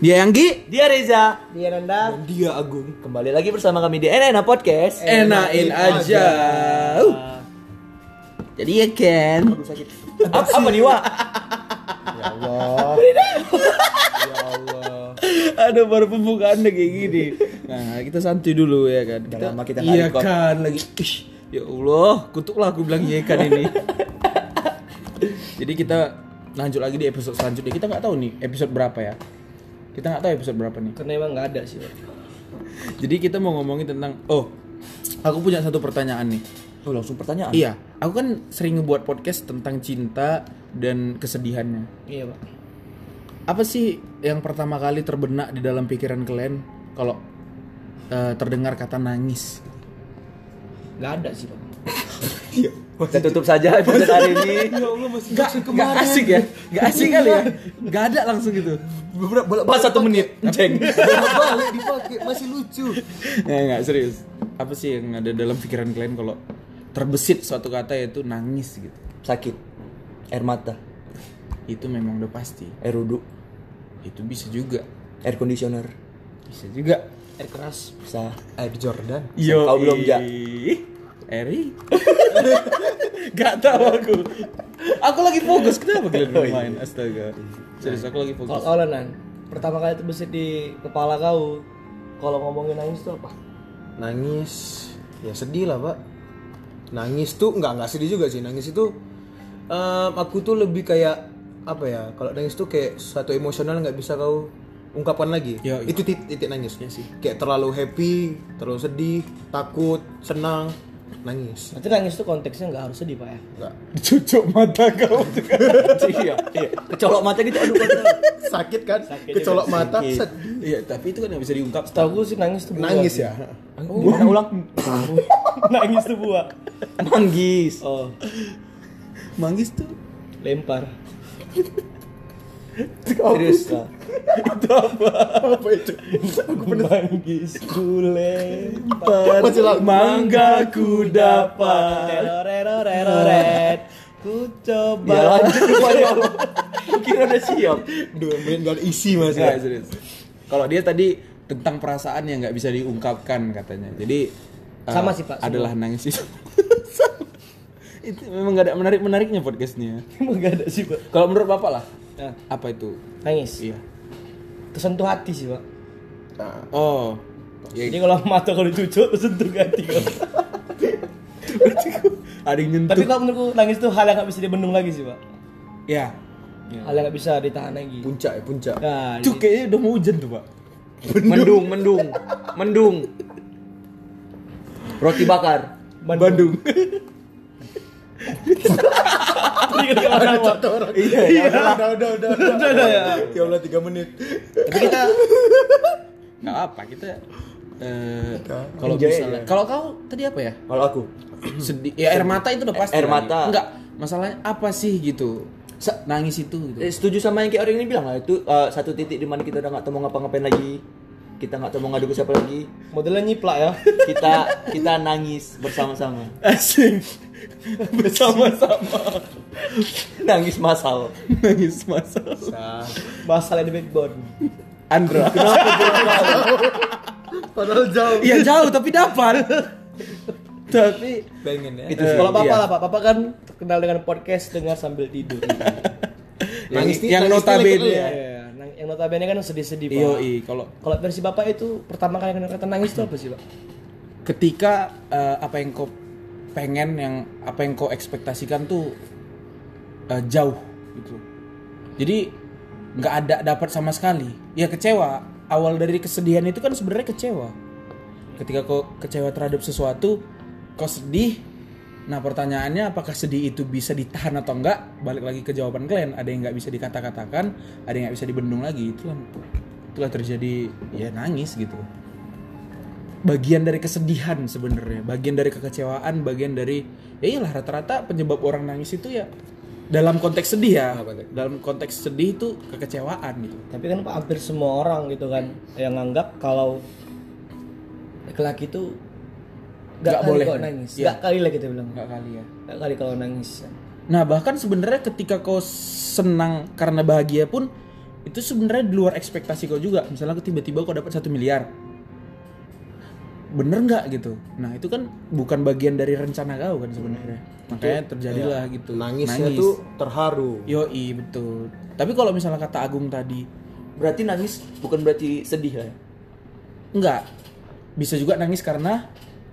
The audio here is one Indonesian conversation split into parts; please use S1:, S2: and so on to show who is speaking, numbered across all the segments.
S1: Dia Yanggi
S2: Dia Reza.
S3: Dia Nanda.
S1: Dia Agung
S2: Kembali lagi bersama kami di Enak Podcast.
S3: Eh.
S1: Enakin aja Uh. Jadi ya Ken
S2: Apa, apa nih, Wak?
S3: Ya Allah. ya Allah.
S1: Aduh baru pembukaan deh kayak gini Nah kita santuy dulu ya kan
S3: Udah lama kita nggak
S1: Iya
S3: record.
S1: kan lagi Ih, Ya Allah kutuklah aku bilang iya kan ini Jadi kita lanjut lagi di episode selanjutnya Kita nggak tahu nih episode berapa ya Kita nggak tahu episode berapa nih
S3: Karena emang nggak ada sih.
S1: Jadi kita mau ngomongin tentang Oh aku punya satu pertanyaan nih
S2: Oh, langsung pertanyaan.
S1: Iya, aku kan sering ngebuat podcast tentang cinta dan kesedihannya.
S3: Iya pak.
S1: Apa sih yang pertama kali terbenak di dalam pikiran kalian kalau eh, terdengar kata nangis?
S3: Nggak ada sih pak. Iya.
S2: Kita tutup saja episode hari ini.
S1: Gak, gak asik ya? Gak asik kali ya? Gak ada langsung gitu.
S3: Beberapa bolak
S2: Pas satu menit, ceng.
S3: balik dipakai masih lucu.
S1: Nggak, nggak, serius. Apa sih yang ada dalam pikiran kalian kalau terbesit suatu kata yaitu nangis gitu?
S2: Sakit. Air mata,
S1: Itu memang udah pasti.
S2: air uduk,
S1: Itu bisa juga.
S2: air conditioner.
S1: Bisa juga.
S3: Air keras.
S2: Bisa.
S3: Air Jordan.
S1: Yo,
S2: Kau belum, Ja?
S1: Eri? Gak tahu aku. Aku lagi fokus. Kenapa kalian belum main? Astaga. Serius, aku lagi
S3: Kalau
S1: fokus.
S3: kau Nan, pertama kali terbesit di kepala kau, kalau ngomongin nangis tuh apa?
S4: nangis ya sedih lah pak nangis tuh nggak nggak sedih juga sih nangis itu em, aku tuh lebih kayak apa ya kalau nangis tuh kayak suatu emosional nggak bisa kau ungkapkan lagi
S1: Ya, iya.
S4: itu titik, titik nangis sih kayak terlalu happy terlalu sedih takut senang nangis
S3: Berarti nangis tuh konteksnya nggak harus sedih pak ya?
S4: nggak
S1: Cucuk mata kau.
S2: iya, iya. Kecolok mata gitu aduh kata.
S4: sakit kan kecolok mata sedih
S1: Iya, tapi itu kan nggak bisa diungkap. Oh,
S3: Tahu gue sih nangis tuh buah.
S4: nangis ya
S2: Iya. Gimana ulang?
S3: nangis tuh buah.
S2: Manggis.
S3: Oh,
S1: Manggis tuh.
S3: lempar.
S2: Serius lah.
S4: apa itu
S3: Manggis gule.
S4: Masih lagu.
S1: Mangga ku dapat.
S3: Terorerorereret. Ku coba.
S2: Ya lanjut gua ya Allah.
S1: Iya,
S2: Kira udah siap.
S4: dua menit nggak ada isi
S1: Nggak,
S4: mas ya
S1: Iya, serius. Kalau dia tadi tentang perasaan yang nggak bisa diungkapkan katanya. Jadi eh,
S3: Sama sih, Pak, semua.
S1: Adalah nangis itu. itu memang gak ada menarik menariknya podcastnya.
S3: Emang gak ada sih pak.
S1: Kalau menurut bapak lah,
S3: Nah,
S1: apa itu?
S3: nangis.
S1: Iya.
S3: Kesentuh hati sih pak.
S4: Nah,
S1: Oh.
S3: Jadi
S1: Ya,
S3: kalau mata kalau dicucuk kesentuh hati. Pak.
S1: ada yang nyentuh.
S3: Tapi kalau menurutku nangis tuh hal yang gak bisa dibendung lagi sih pak.
S1: ya.
S3: Hal yang gak bisa ditahan lagi.
S4: puncak ya puncak
S3: Nah,
S1: Itu
S3: jadi-
S1: kayaknya udah mau hujan tuh, Pak.
S2: Mendung, mendung. Mendung. Roti bakar.
S3: Bandung. Ingat ke mana, Pak?
S4: Iya, iya. Udah, udah, udah, udah, udah, ya. Ya Allah, tiga menit.
S3: Tapi kita
S1: Enggak apa, kita eh kalau
S4: Enjoy
S1: misalnya
S4: aja.
S1: kalau kau tadi apa ya?
S2: Kalau aku,
S1: Sedih. Ya air mata itu udah pasti.
S2: Eh, Air
S1: lagi.
S2: mata.
S1: Enggak, masalahnya apa sih gitu? Se- nangis itu gitu.
S2: Eh, setuju sama yang kayak orang ini bilang lah itu eh, satu titik di mana kita udah nggak tahu mau ngapa-ngapain lagi kita nggak tahu mau ngadu ke siapa lagi
S3: modelnya nyiplak ya.
S2: kita kita nangis bersama-sama
S1: Asing. Bersama-sama
S2: nangis masal
S1: nangis masa.
S4: Nah,
S3: Masalah di backbone.
S1: Andra.
S4: padahal jauh.
S1: Iya jauh tapi dapat. tapi
S4: Pengen ya.
S2: itu
S3: Eh,
S2: sih
S3: Kalau bapak
S1: iya.
S3: lah pak, bapak kan terkenal dengan podcast dengar sambil tidur.
S1: yang,
S4: Nangis nih,
S1: iya. yang
S4: nangis nih,
S1: notabene
S4: lagi-lagi
S2: ya.
S3: Iya, iya. Nang- Yang notabene kan sedih-sedih pak.
S1: Yoi, kalau
S3: Kalau versi bapak itu pertama kali kena kata nangis itu apa sih pak?
S1: ketika eh, apa yang kau pengen yang apa yang kau ekspektasikan tuh eh, jauh gitu jadi nggak ada dapat sama sekali ya kecewa awal dari kesedihan itu kan sebenarnya kecewa ketika kau kecewa terhadap sesuatu kau sedih nah pertanyaannya apakah sedih itu bisa ditahan atau enggak balik lagi ke jawaban kalian ada yang nggak bisa dikata-katakan ada yang nggak bisa dibendung lagi itulah itulah terjadi ya nangis gitu bagian dari kesedihan sebenarnya, bagian dari kekecewaan, bagian dari ya iyalah rata-rata penyebab orang nangis itu ya dalam konteks sedih ya. Dalam konteks sedih itu kekecewaan gitu.
S3: Tapi kan pak hampir semua orang gitu kan yang nganggap kalau laki-laki itu
S1: Nggak
S3: gak, kali
S1: boleh.
S3: boleh kalau nangis,
S1: Iya.
S3: gak kali lah kita bilang,
S1: Enggak kali ya.
S3: gak kali kalau nangis.
S1: Nah, bahkan sebenarnya ketika kau senang karena bahagia pun itu sebenarnya di luar ekspektasi kau juga misalnya kau tiba-tiba kau dapat satu miliar bener nggak gitu nah itu kan bukan bagian dari rencana kau kan sebenarnya makanya terjadilah gitu
S4: Hmm. Nangisnya ya tuh terharu. gitu
S1: yoi betul tapi kalau misalnya kata Agung tadi
S2: Berarti nangis bukan berarti sedih lah. ya?
S1: enggak bisa juga nangis karena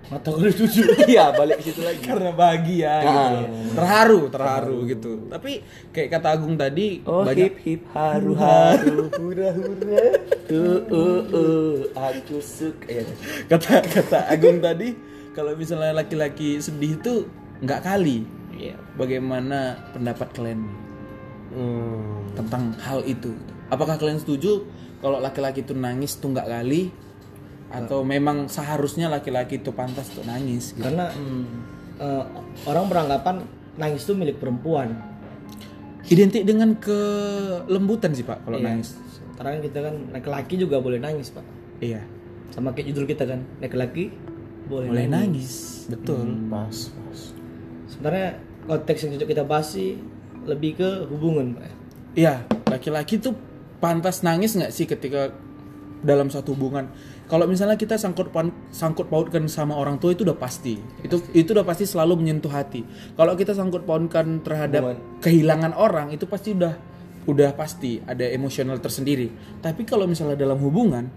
S1: mata kau dituju
S2: Iya, balik ke situ lagi.
S1: karena bahagia gitu
S2: Ah.
S1: terharu terharu gitu tapi kayak kata Agung tadi
S2: Oh
S1: banyak
S2: hip hip haru haru hura hura uh uh uh aku suka
S3: Iya.
S2: ya.
S1: kata kata Agung tadi kalau misalnya laki-laki sedih itu nggak kali bagaimana pendapat kalian
S4: Hmm.
S1: tentang hal itu apakah kalian setuju kalau laki-laki itu nangis tuh nggak kali atau memang seharusnya laki-laki itu pantas untuk nangis gitu
S3: karena eh, orang beranggapan nangis itu milik perempuan
S1: identik dengan kelembutan sih pak kalau
S3: Iya.
S1: nangis
S3: sekarang kita kan laki-laki juga boleh nangis pak
S1: iya
S3: sama kayak judul kita kan laki-laki boleh,
S1: boleh
S3: nangis.
S1: nangis betul
S4: Hmm, Pas, pas.
S3: sebenarnya konteks yang cocok kita bahas sih lebih ke hubungan pak
S1: Iya, laki-laki tuh pantas nangis nggak sih ketika dalam satu hubungan? Kalau misalnya kita sangkut pan- sangkut pautkan sama orang tua itu udah pasti. Itu itu udah pasti selalu menyentuh hati. Kalau kita sangkut pautkan terhadap kehilangan orang itu pasti udah udah pasti ada emosional tersendiri. Tapi kalau misalnya dalam hubungan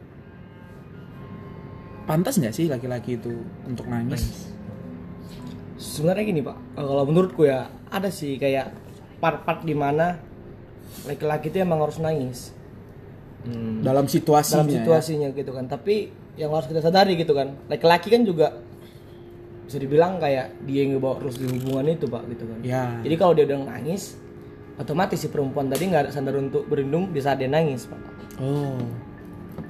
S1: pantas nggak sih laki-laki itu untuk nangis?
S3: sebenarnya gini pak kalau menurutku ya ada sih kayak part-part di mana laki-laki itu emang harus nangis Hmm.
S1: Dalam situasinya.
S3: dalam situasinya gitu kan tapi yang harus kita sadari gitu kan laki-laki kan juga bisa dibilang kayak dia yang ngebawa terus di hubungan itu pak gitu kan
S1: Ya.
S3: jadi kalau dia udah nangis otomatis si perempuan tadi nggak ada sandar untuk berlindung di saat dia nangis pak
S1: Oh.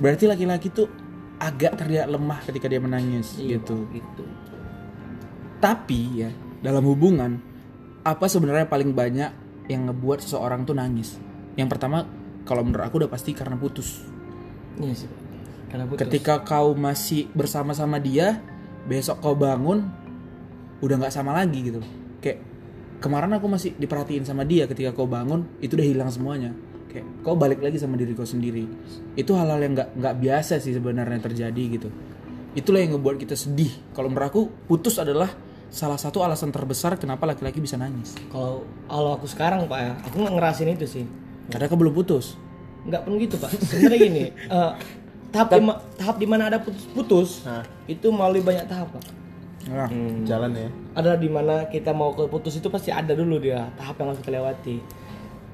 S1: Berarti laki-laki tuh agak terlihat lemah ketika dia menangis gitu.
S3: gitu
S1: Tapi ya, dalam hubungan apa sebenarnya paling banyak yang ngebuat seseorang tuh nangis? Yang pertama kalau menurut aku udah pasti karena putus.
S3: iya sih pak karena putus
S1: Ketika kau masih bersama-sama dia, besok kau bangun udah nggak sama lagi gitu. Kayak kemarin aku masih diperhatiin sama dia ketika kau bangun itu udah hilang semuanya. Kayak kau balik lagi sama diri kau sendiri. Itu hal-hal yang nggak nggak biasa sih sebenarnya terjadi gitu. Itulah yang ngebuat kita sedih. Kalau menurut aku putus adalah salah satu alasan terbesar kenapa laki-laki bisa nangis.
S3: kalau kalau aku sekarang pak ya aku nggak ngerasin itu sih
S1: Karena kau belum putus.
S3: nggak pun gitu pak sebenarnya gini eh, tahap dima- tahap di mana ada putus-putus
S4: Nah.
S3: itu melalui banyak tahap pak
S1: Nah,
S3: Hmm.
S4: Jalan ya.
S3: adalah dimana kita mau ke putus itu pasti ada dulu dia tahap yang harus kita lewati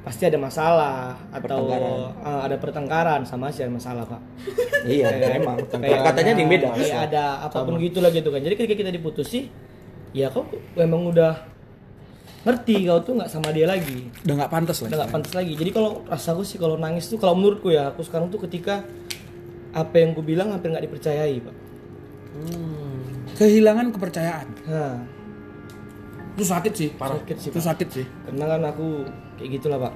S3: pasti ada masalah atau eh, ada pertengkaran sama sih ada masalah pak
S2: Iya, emang.
S3: Kayak
S2: Katanya ada yang beda.
S3: kayak ada apapun gitu lah gitu kan jadi ketika kita diputus sih ya kau memang udah ngerti kau tuh nggak sama dia lagi
S1: udah nggak pantas
S3: udah
S1: lagi.
S3: nggak pantas lagi jadi kalau rasaku sih kalau nangis tuh kalau menurutku ya aku sekarang tuh ketika apa yang ku bilang hampir nggak dipercayai pak
S1: Kehilangan kepercayaan.
S3: nah
S1: Itu sakit sih, parah.
S3: Sakit sih,
S1: itu
S3: Pak.
S1: sakit sih.
S3: karena kan aku kayak gitulah pak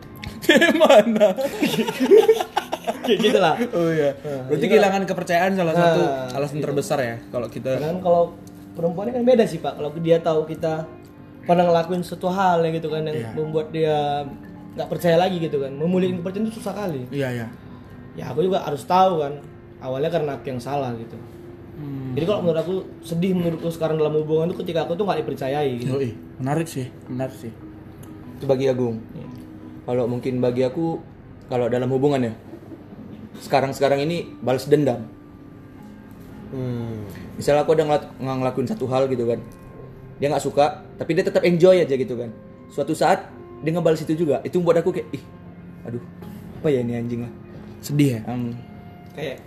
S1: Gimana?
S3: kayak gitulah
S1: Oh iya. Berarti kehilangan kepercayaan salah satu alasan terbesar ya kalau kita
S3: Karena kan kalau perempuan ini kan beda sih pak. Kalau dia tahu kita pernah ngelakuin suatu hal ya gitu kan yang membuat dia nggak percaya lagi gitu kan. Memulihkan kepercayaan itu susah kali.
S1: Iya ya.
S3: Ya aku juga harus tahu kan. Awalnya karena aku yang salah gitu. Jadi kalau menurut aku sedih menurutku sekarang dalam hubungan itu ketika aku tuh nggak dipercayai. Gitu.
S1: Yoi. menarik sih, Iya. menarik sih.
S2: Itu bagi Agung. Kalau mungkin bagi aku kalau dalam hubungan ya. Sekarang-sekarang ini balas dendam.
S4: Hmm.
S2: Misalnya aku udah ngelak- nggak ngelakuin satu hal gitu kan. Dia nggak suka, tapi dia tetap enjoy aja gitu kan. Suatu saat dia ngebalas itu juga. Itu membuat aku kayak ih, aduh, apa ya ini anjing lah.
S1: Sedih ya.
S2: Em,
S3: Kayak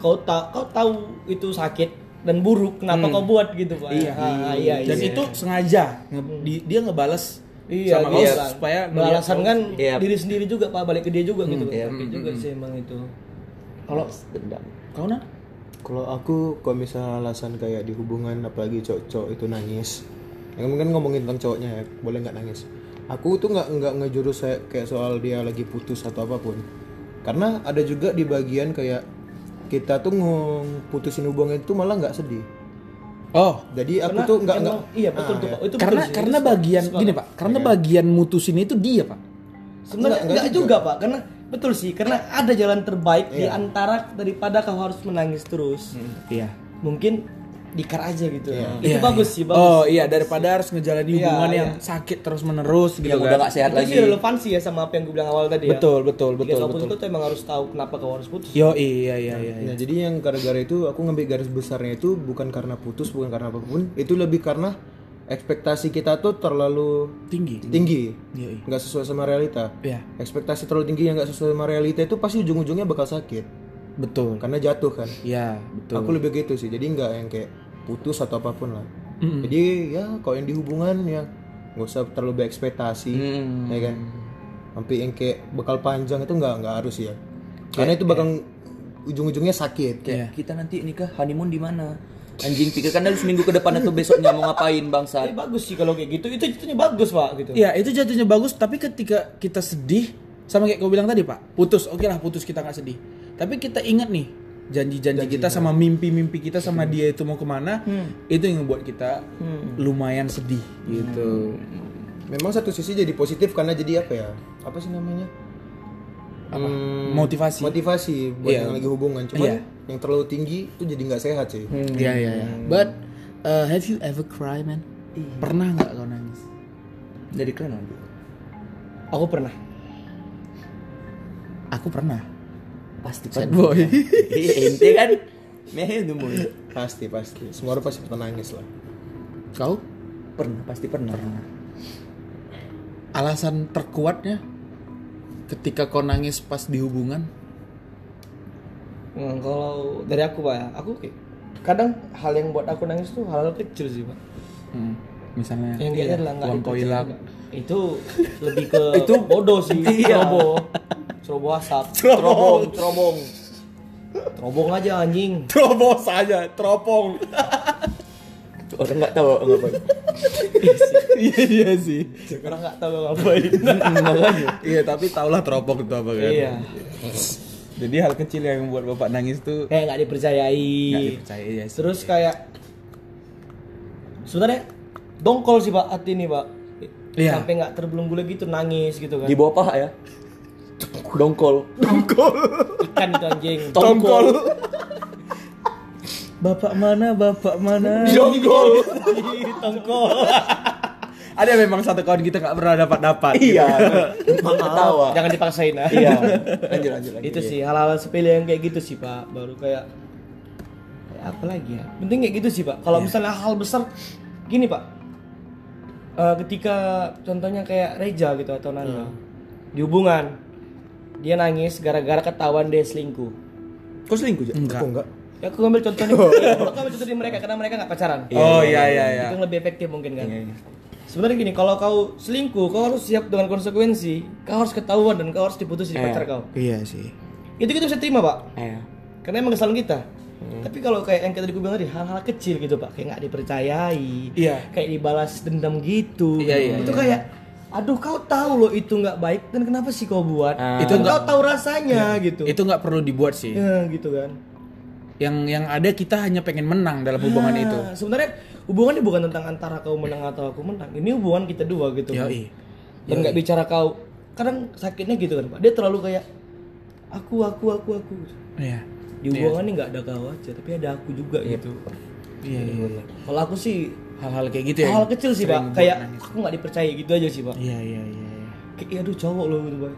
S3: kau tak kau tahu itu sakit dan buruk kenapa kau buat gitu pak? Iya
S1: Ah,
S3: iya iya.
S1: Dan itu sengaja nge- di- dia ngebales
S3: Iya,
S1: sama
S3: iya.
S1: kau supaya ngeliat
S3: balasan kan
S2: Iya.
S3: diri sendiri juga pak balik ke dia juga gitu.
S1: Hmm, iya.
S3: Sakit juga sih emang itu.
S1: kalau
S2: balas dendam.
S1: kau nah
S4: Kalau aku kalau misalnya alasan kayak di hubungan apalagi cowok-cowok itu nangis. Yang mungkin ngomongin tentang cowoknya ya, boleh nggak nangis. Aku tuh nggak nggak ngejurus saya- kayak soal dia lagi putus atau apapun. Karena ada juga di bagian kayak kita tuh putusin hubungan itu malah nggak sedih.
S1: Oh,
S4: Jadi aku tuh nggak nggak Ah,
S3: Emang, iya betul tuh pak. Itu betul
S1: karena
S3: sih.
S1: kan? Iya. karena bagian gini Pak, karena bagian mutusin itu dia Pak.
S3: sebenarnya enggak juga pak karena Betul sih, karena ada jalan terbaik di antara daripada kau harus menangis terus.
S2: Iya.
S3: Mungkin dikar aja gitu. Itu
S1: Hmm. Iya,
S3: bagus
S1: iya.
S3: sih, bagus.
S1: Oh iya daripada harus ngejalani
S3: Iya,
S1: hubungan
S3: iya.
S1: yang sakit terus menerus gitu kan.
S2: Yang udah gak sehat
S3: Itu
S2: lagi.
S3: sih relevansi ya sama apa yang gue bilang awal tadi ya.
S1: Betul betul betul
S3: Ketika kau putus
S1: betul.
S3: kau tuh emang harus tahu kenapa kau harus putus.
S1: Yo iya iya iya. iya.
S4: Nah, jadi yang gara-gara itu aku ngambil garis besarnya itu bukan karena putus, bukan karena apapun, itu lebih karena ekspektasi kita tuh terlalu
S1: Tinggi.
S4: tinggi,
S1: Yo iya.
S4: nggak sesuai sama realita.
S1: Iya,
S4: Ekspektasi terlalu tinggi yang nggak sesuai sama realita itu pasti ujung-ujungnya bakal sakit,
S1: betul.
S4: karena jatuh kan.
S1: Iya, betul.
S4: Aku lebih gitu sih, jadi nggak yang kayak putus atau apapun lah. Jadi ya kalau yang di hubungan ya nggak usah terlalu berekspektasi, ya kan. Sampai yang kayak bakal panjang itu nggak nggak harus ya, karena itu bakal ujung-ujungnya
S5: Iya.
S4: sakit. Kayak,
S2: Kayak gitu. kita nanti nikah honeymoon di mana? Anjing pikirkan dulu seminggu ke depan atau besoknya mau ngapain
S3: Tapi
S2: bangsa.
S3: bagus sih kalau kayak gitu. Itu jatuhnya bagus, Pak, gitu.
S1: Iya, itu jatuhnya bagus, tapi ketika kita sedih sama kayak kau bilang tadi, Pak. Putus, oke lah putus kita nggak sedih. Tapi kita ingat nih janji-janji kita sama mimpi-mimpi kita sama dia itu mau kemana itu yang membuat kita lumayan sedih gitu
S4: Memang satu sisi jadi positif karena jadi apa ya? Apa sih namanya? Hmm,
S1: motivasi
S4: motivasi buat
S1: Iya.
S4: yang lagi hubungan. Cuman
S1: Iya.
S4: yang terlalu tinggi itu jadi nggak sehat sih.
S2: Hmm.
S5: Hmm.
S1: Iya iya iya.
S5: But uh, have you ever cried, man?
S1: Pernah nggak kau nangis?
S2: Jadi keren. Bang.
S3: Aku pernah.
S1: Aku pernah.
S2: Pasti
S5: Sad
S2: pasti.
S5: boy.
S2: Eh, Ente kan meh itu mau.
S4: Pasti pasti. Semua orang pasti pernah nangis lah.
S5: Kau?
S2: Pernah pasti pernah.
S5: Alasan terkuatnya ketika kau nangis pas di hubungan?
S3: Hmm, kalau dari aku, Pak, ya, aku kayak kadang hal yang buat aku nangis tuh hal-hal kecil sih, Pak.
S1: Hmm, Misalnya
S3: Yang kayaknya adalah nggak
S1: uang kau
S3: dipercaya.
S1: hilang.
S3: Itu lebih ke Iya, itu bodoh sih, ceroboh. Ceroboh asap, cerobong, cerobong. Cerobong aja anjing.
S1: Terobos aja, teropong.
S2: Orang nggak tahu orang ngapain.
S1: Iya iya sih.
S3: Orang nggak tahu ngapain.
S1: Iya tapi taulah teropong itu apa kan.
S3: Iya.
S1: Jadi hal kecil yang membuat bapak nangis tuh
S3: Kayak nggak dipercayai.
S1: nggak dipercaya ya. sih.
S3: Terus kayak sebenarnya dongkol sih Pak hati ini, Pak.
S1: Iya.
S3: Sampai nggak terbelenggu lagi tuh nangis gitu kan.
S2: Di bawah paha ya. Dongkol.
S3: Ikan itu anjing.
S2: Tongkol.
S1: Bapak mana? Bapak mana?
S2: Dongkol.
S3: Tongkol.
S1: Ada memang satu kawan kita nggak pernah dapat dapat.
S2: Iya. Emang ketawa.
S3: Jangan dipaksain ah.
S2: Iya. Lanjut lanjut lanjut.
S3: itu sih hal-hal sepele yang kayak gitu sih pak baru kayak kayak apa lagi ya penting kayak gitu sih pak kalau
S2: Iya.
S3: misalnya hal besar gini pak Eh, ketika contohnya kayak Reja gitu atau
S2: Hmm.
S3: Nanda di hubungan dia nangis gara-gara ketahuan dia selingkuh
S2: Kau selingkuh aja.
S1: Enggak.
S4: Aku nggak.
S3: ya aku ngambil contohnya aku ngambil contoh di mereka karena mereka nggak pacaran
S1: Oh iya iya iya.
S3: itu yang lebih efektif mungkin kan sebenarnya gini kalau kau selingkuh kau harus siap dengan konsekuensi kau harus ketahuan dan kau harus diputus dari pacar kau
S1: Iya sih.
S3: itu kita bisa terima pak
S2: Iya.
S3: karena emang kesalahan kita
S1: Hmm.
S3: tapi kalau kayak yang tadi gue bilang tadi hal-hal kecil gitu pak kayak nggak dipercayai
S1: Iya.
S3: kayak dibalas dendam gitu
S1: Iya, iya,
S3: itu kayak aduh kau tahu loh itu nggak baik dan kenapa sih kau buat
S2: Ah.
S1: Itu
S3: itu kau
S1: nggak- Iya.
S3: tahu rasanya gitu
S1: Itu nggak perlu dibuat sih.
S3: ya, gitu kan
S1: Yang yang ada kita hanya pengen menang dalam hubungan
S3: Nah,
S1: itu.
S3: sebenarnya hubungan ini bukan tentang antara kau menang atau aku menang ini hubungan kita dua gitu kan.
S1: Yoi.
S3: dan nggak bicara kau kadang sakitnya gitu kan pak dia terlalu kayak aku aku aku aku
S1: Iya.
S3: di hubungan ini nggak ada kau aja tapi ada aku juga gitu
S1: Iya iya.
S3: kalau aku sih
S1: Hal-hal kayak gitu ya.
S3: hal kecil sih
S1: sering
S3: pak kayak aku nggak dipercaya gitu aja sih pak
S1: Iya iya iya. iya.
S3: kayak "Ih, aduh cowok loh gitu pak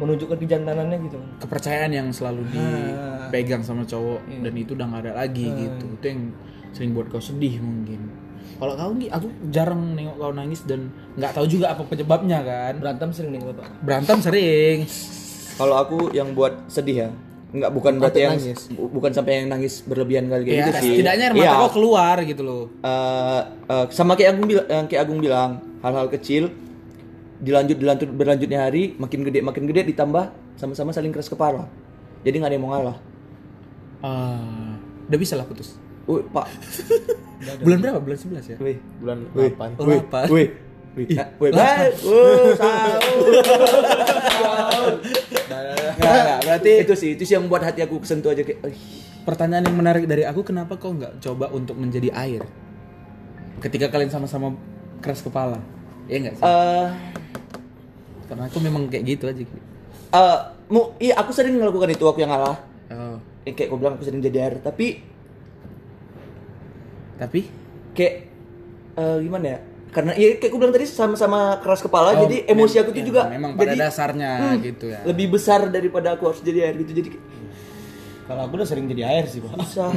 S3: menunjukkan kejantanannya gitu kan
S1: kepercayaan yang selalu dipegang sama cowok dan itu udah nggak ada lagi gitu itu yang sering buat kau sedih mungkin kalau kau Gi, aku jarang nengok kau nangis dan nggak tahu juga apa penyebabnya kan
S3: berantem sering nih bapak
S1: berantem sering
S2: Kalau aku yang buat sedih ya, nggak bukan berarti yang bu- bukan sampai yang nangis berlebihan kali kayak
S1: ya
S2: gitu sih.
S1: setidaknya air mata
S2: Iya.
S1: kau keluar gitu loh
S2: Eh, eh, sama kayak Agung bilang, yang kayak Agung bilang, hal-hal kecil dilanjut dilanjut berlanjutnya hari makin gede makin gede ditambah sama-sama saling keras kepala. Jadi nggak ada yang mau ngalah.
S1: Ah, udah bisa lah putus
S2: Woi, Pak.
S1: bulan berapa bulan 11 ya
S2: Woi.
S4: Bulan
S2: Wih.
S4: delapan.
S1: Oh,
S2: Woi.
S1: apa?
S2: Woi. Woi. Nah, Woi. Bye. Wuh, sahur.
S1: Nggak, nggak, berarti Eh.
S2: itu sih, itu sih yang membuat hati aku kesentuh aja kayak. "Ih,
S1: pertanyaan yang menarik dari aku kenapa kau nggak coba untuk menjadi air ketika kalian sama-sama keras kepala ya nggak sih
S2: Eh,
S1: karena aku memang kayak gitu aja Gi.
S2: eh mu iya aku sering melakukan itu aku yang ngalah
S1: Oh,
S2: Eh, kayak kau bilang aku sering jadi tapi
S1: tapi
S2: kayak eh, gimana ya karena ya kayak aku bilang tadi sama-sama keras kepala
S1: Oh,
S2: jadi emosi
S1: mem-
S2: aku tuh
S1: ya,
S2: juga
S1: memang pada
S2: jadi Hmm.
S1: dasarnya gitu ya.
S2: lebih besar daripada aku harus jadi air gitu jadi kayak
S3: Kalau aku udah sering jadi air sih pak.
S2: susah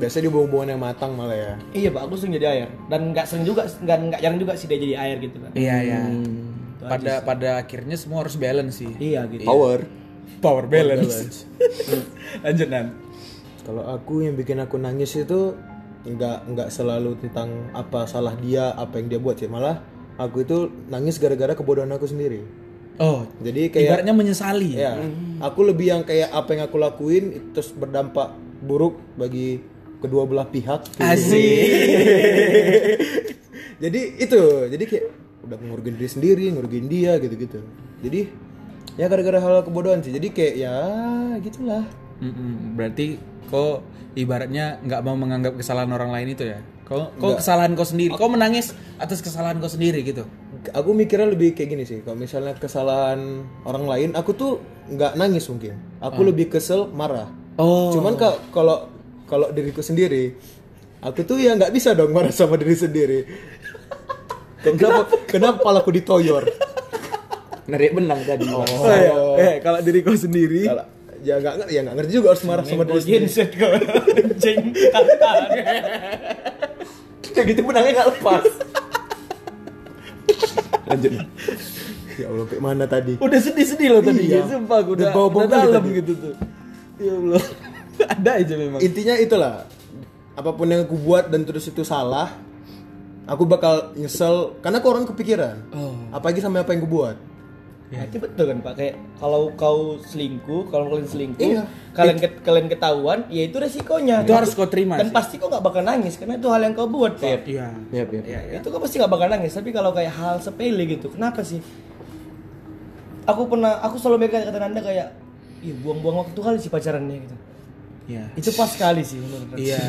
S4: Biasanya di hubungan yang matang malah ya.
S3: Iya pak, aku sering jadi air dan nggak sering juga, nggak nggak jarang juga sih dia jadi air gitu kan.
S1: Iya ya.
S2: Hmm.
S1: Pada pada akhirnya semua harus balance sih.
S3: Iya gitu.
S2: power
S1: Power balance. Lanjut Nan.
S4: Kalau aku yang bikin aku nangis itu nggak nggak selalu tentang apa salah dia, apa yang dia buat sih. Malah aku itu nangis gara-gara kebodohan aku sendiri.
S1: Oh,
S4: Jadi kayak
S1: ibaratnya menyesali.
S2: Iya.
S4: ya, aku lebih yang kayak apa yang aku lakuin itu terus berdampak buruk bagi kedua belah pihak.
S2: Iya.
S1: Asik.
S4: jadi itu jadi kayak udah ngurugin diri sendiri ngurugin dia gitu-gitu jadi ya gara-gara hal kebodohan sih jadi kayak ya gitulah
S1: Mm-mm, Berarti kau ibaratnya nggak mau menganggap kesalahan orang lain itu ya. Kau kau kesalahan kau sendiri. Kau menangis atas kesalahan kau sendiri gitu.
S4: aku mikirnya lebih kayak gini sih kalau misalnya kesalahan orang lain aku tuh nggak nangis mungkin aku lebih kesel marah
S1: Oh.
S4: cuman ka- kalau kalau diriku sendiri aku tuh ya nggak bisa dong marah sama diri sendiri kenapa kenapa palaku ditoyor
S2: narik benang tadi
S4: Oh, iya.
S1: Eh, kalau diri kau sendiri
S4: Kalau- ya nggak ngerti ya nggak ngerti juga harus marah sama diri sendiri
S3: Genset kau, jeng tantan.
S2: kayak gitu benangnya nggak lepas lanjut
S4: ya allah kayak mana tadi
S1: udah sedih-sedih loh tadi. ya.
S4: Iya.
S1: Sumpah aku udah,
S4: Berbau-bau
S1: udah
S4: kali
S1: dalam
S4: tadi.
S1: gitu tuh. Ya Allah. Ada aja memang.
S4: intinya itulah apapun yang aku buat dan terus itu salah aku bakal nyesel karena aku orang kepikiran
S1: Oh.
S4: apalagi sama apa yang aku buat
S3: Itu betul kan pak, kayak kalau kau selingkuh, kalau kalian selingkuh,
S4: Iya.
S3: kalian ke- kalian ketahuan, ya itu resikonya.
S1: Itu harus kau terima
S3: Dan
S1: sih.
S3: pasti kau nggak bakal nangis karena itu hal yang kau buat pak.
S1: Iya.
S2: ya ya
S3: Itu kau pasti nggak bakal nangis. Tapi kalau kayak hal sepele gitu, kenapa sih? Aku pernah, aku selalu megang kata anda kayak, ih buang-buang waktu kali sih pacarannya gitu.
S1: Iya.
S3: Itu pas sekali sih menurut aku.
S1: Iya.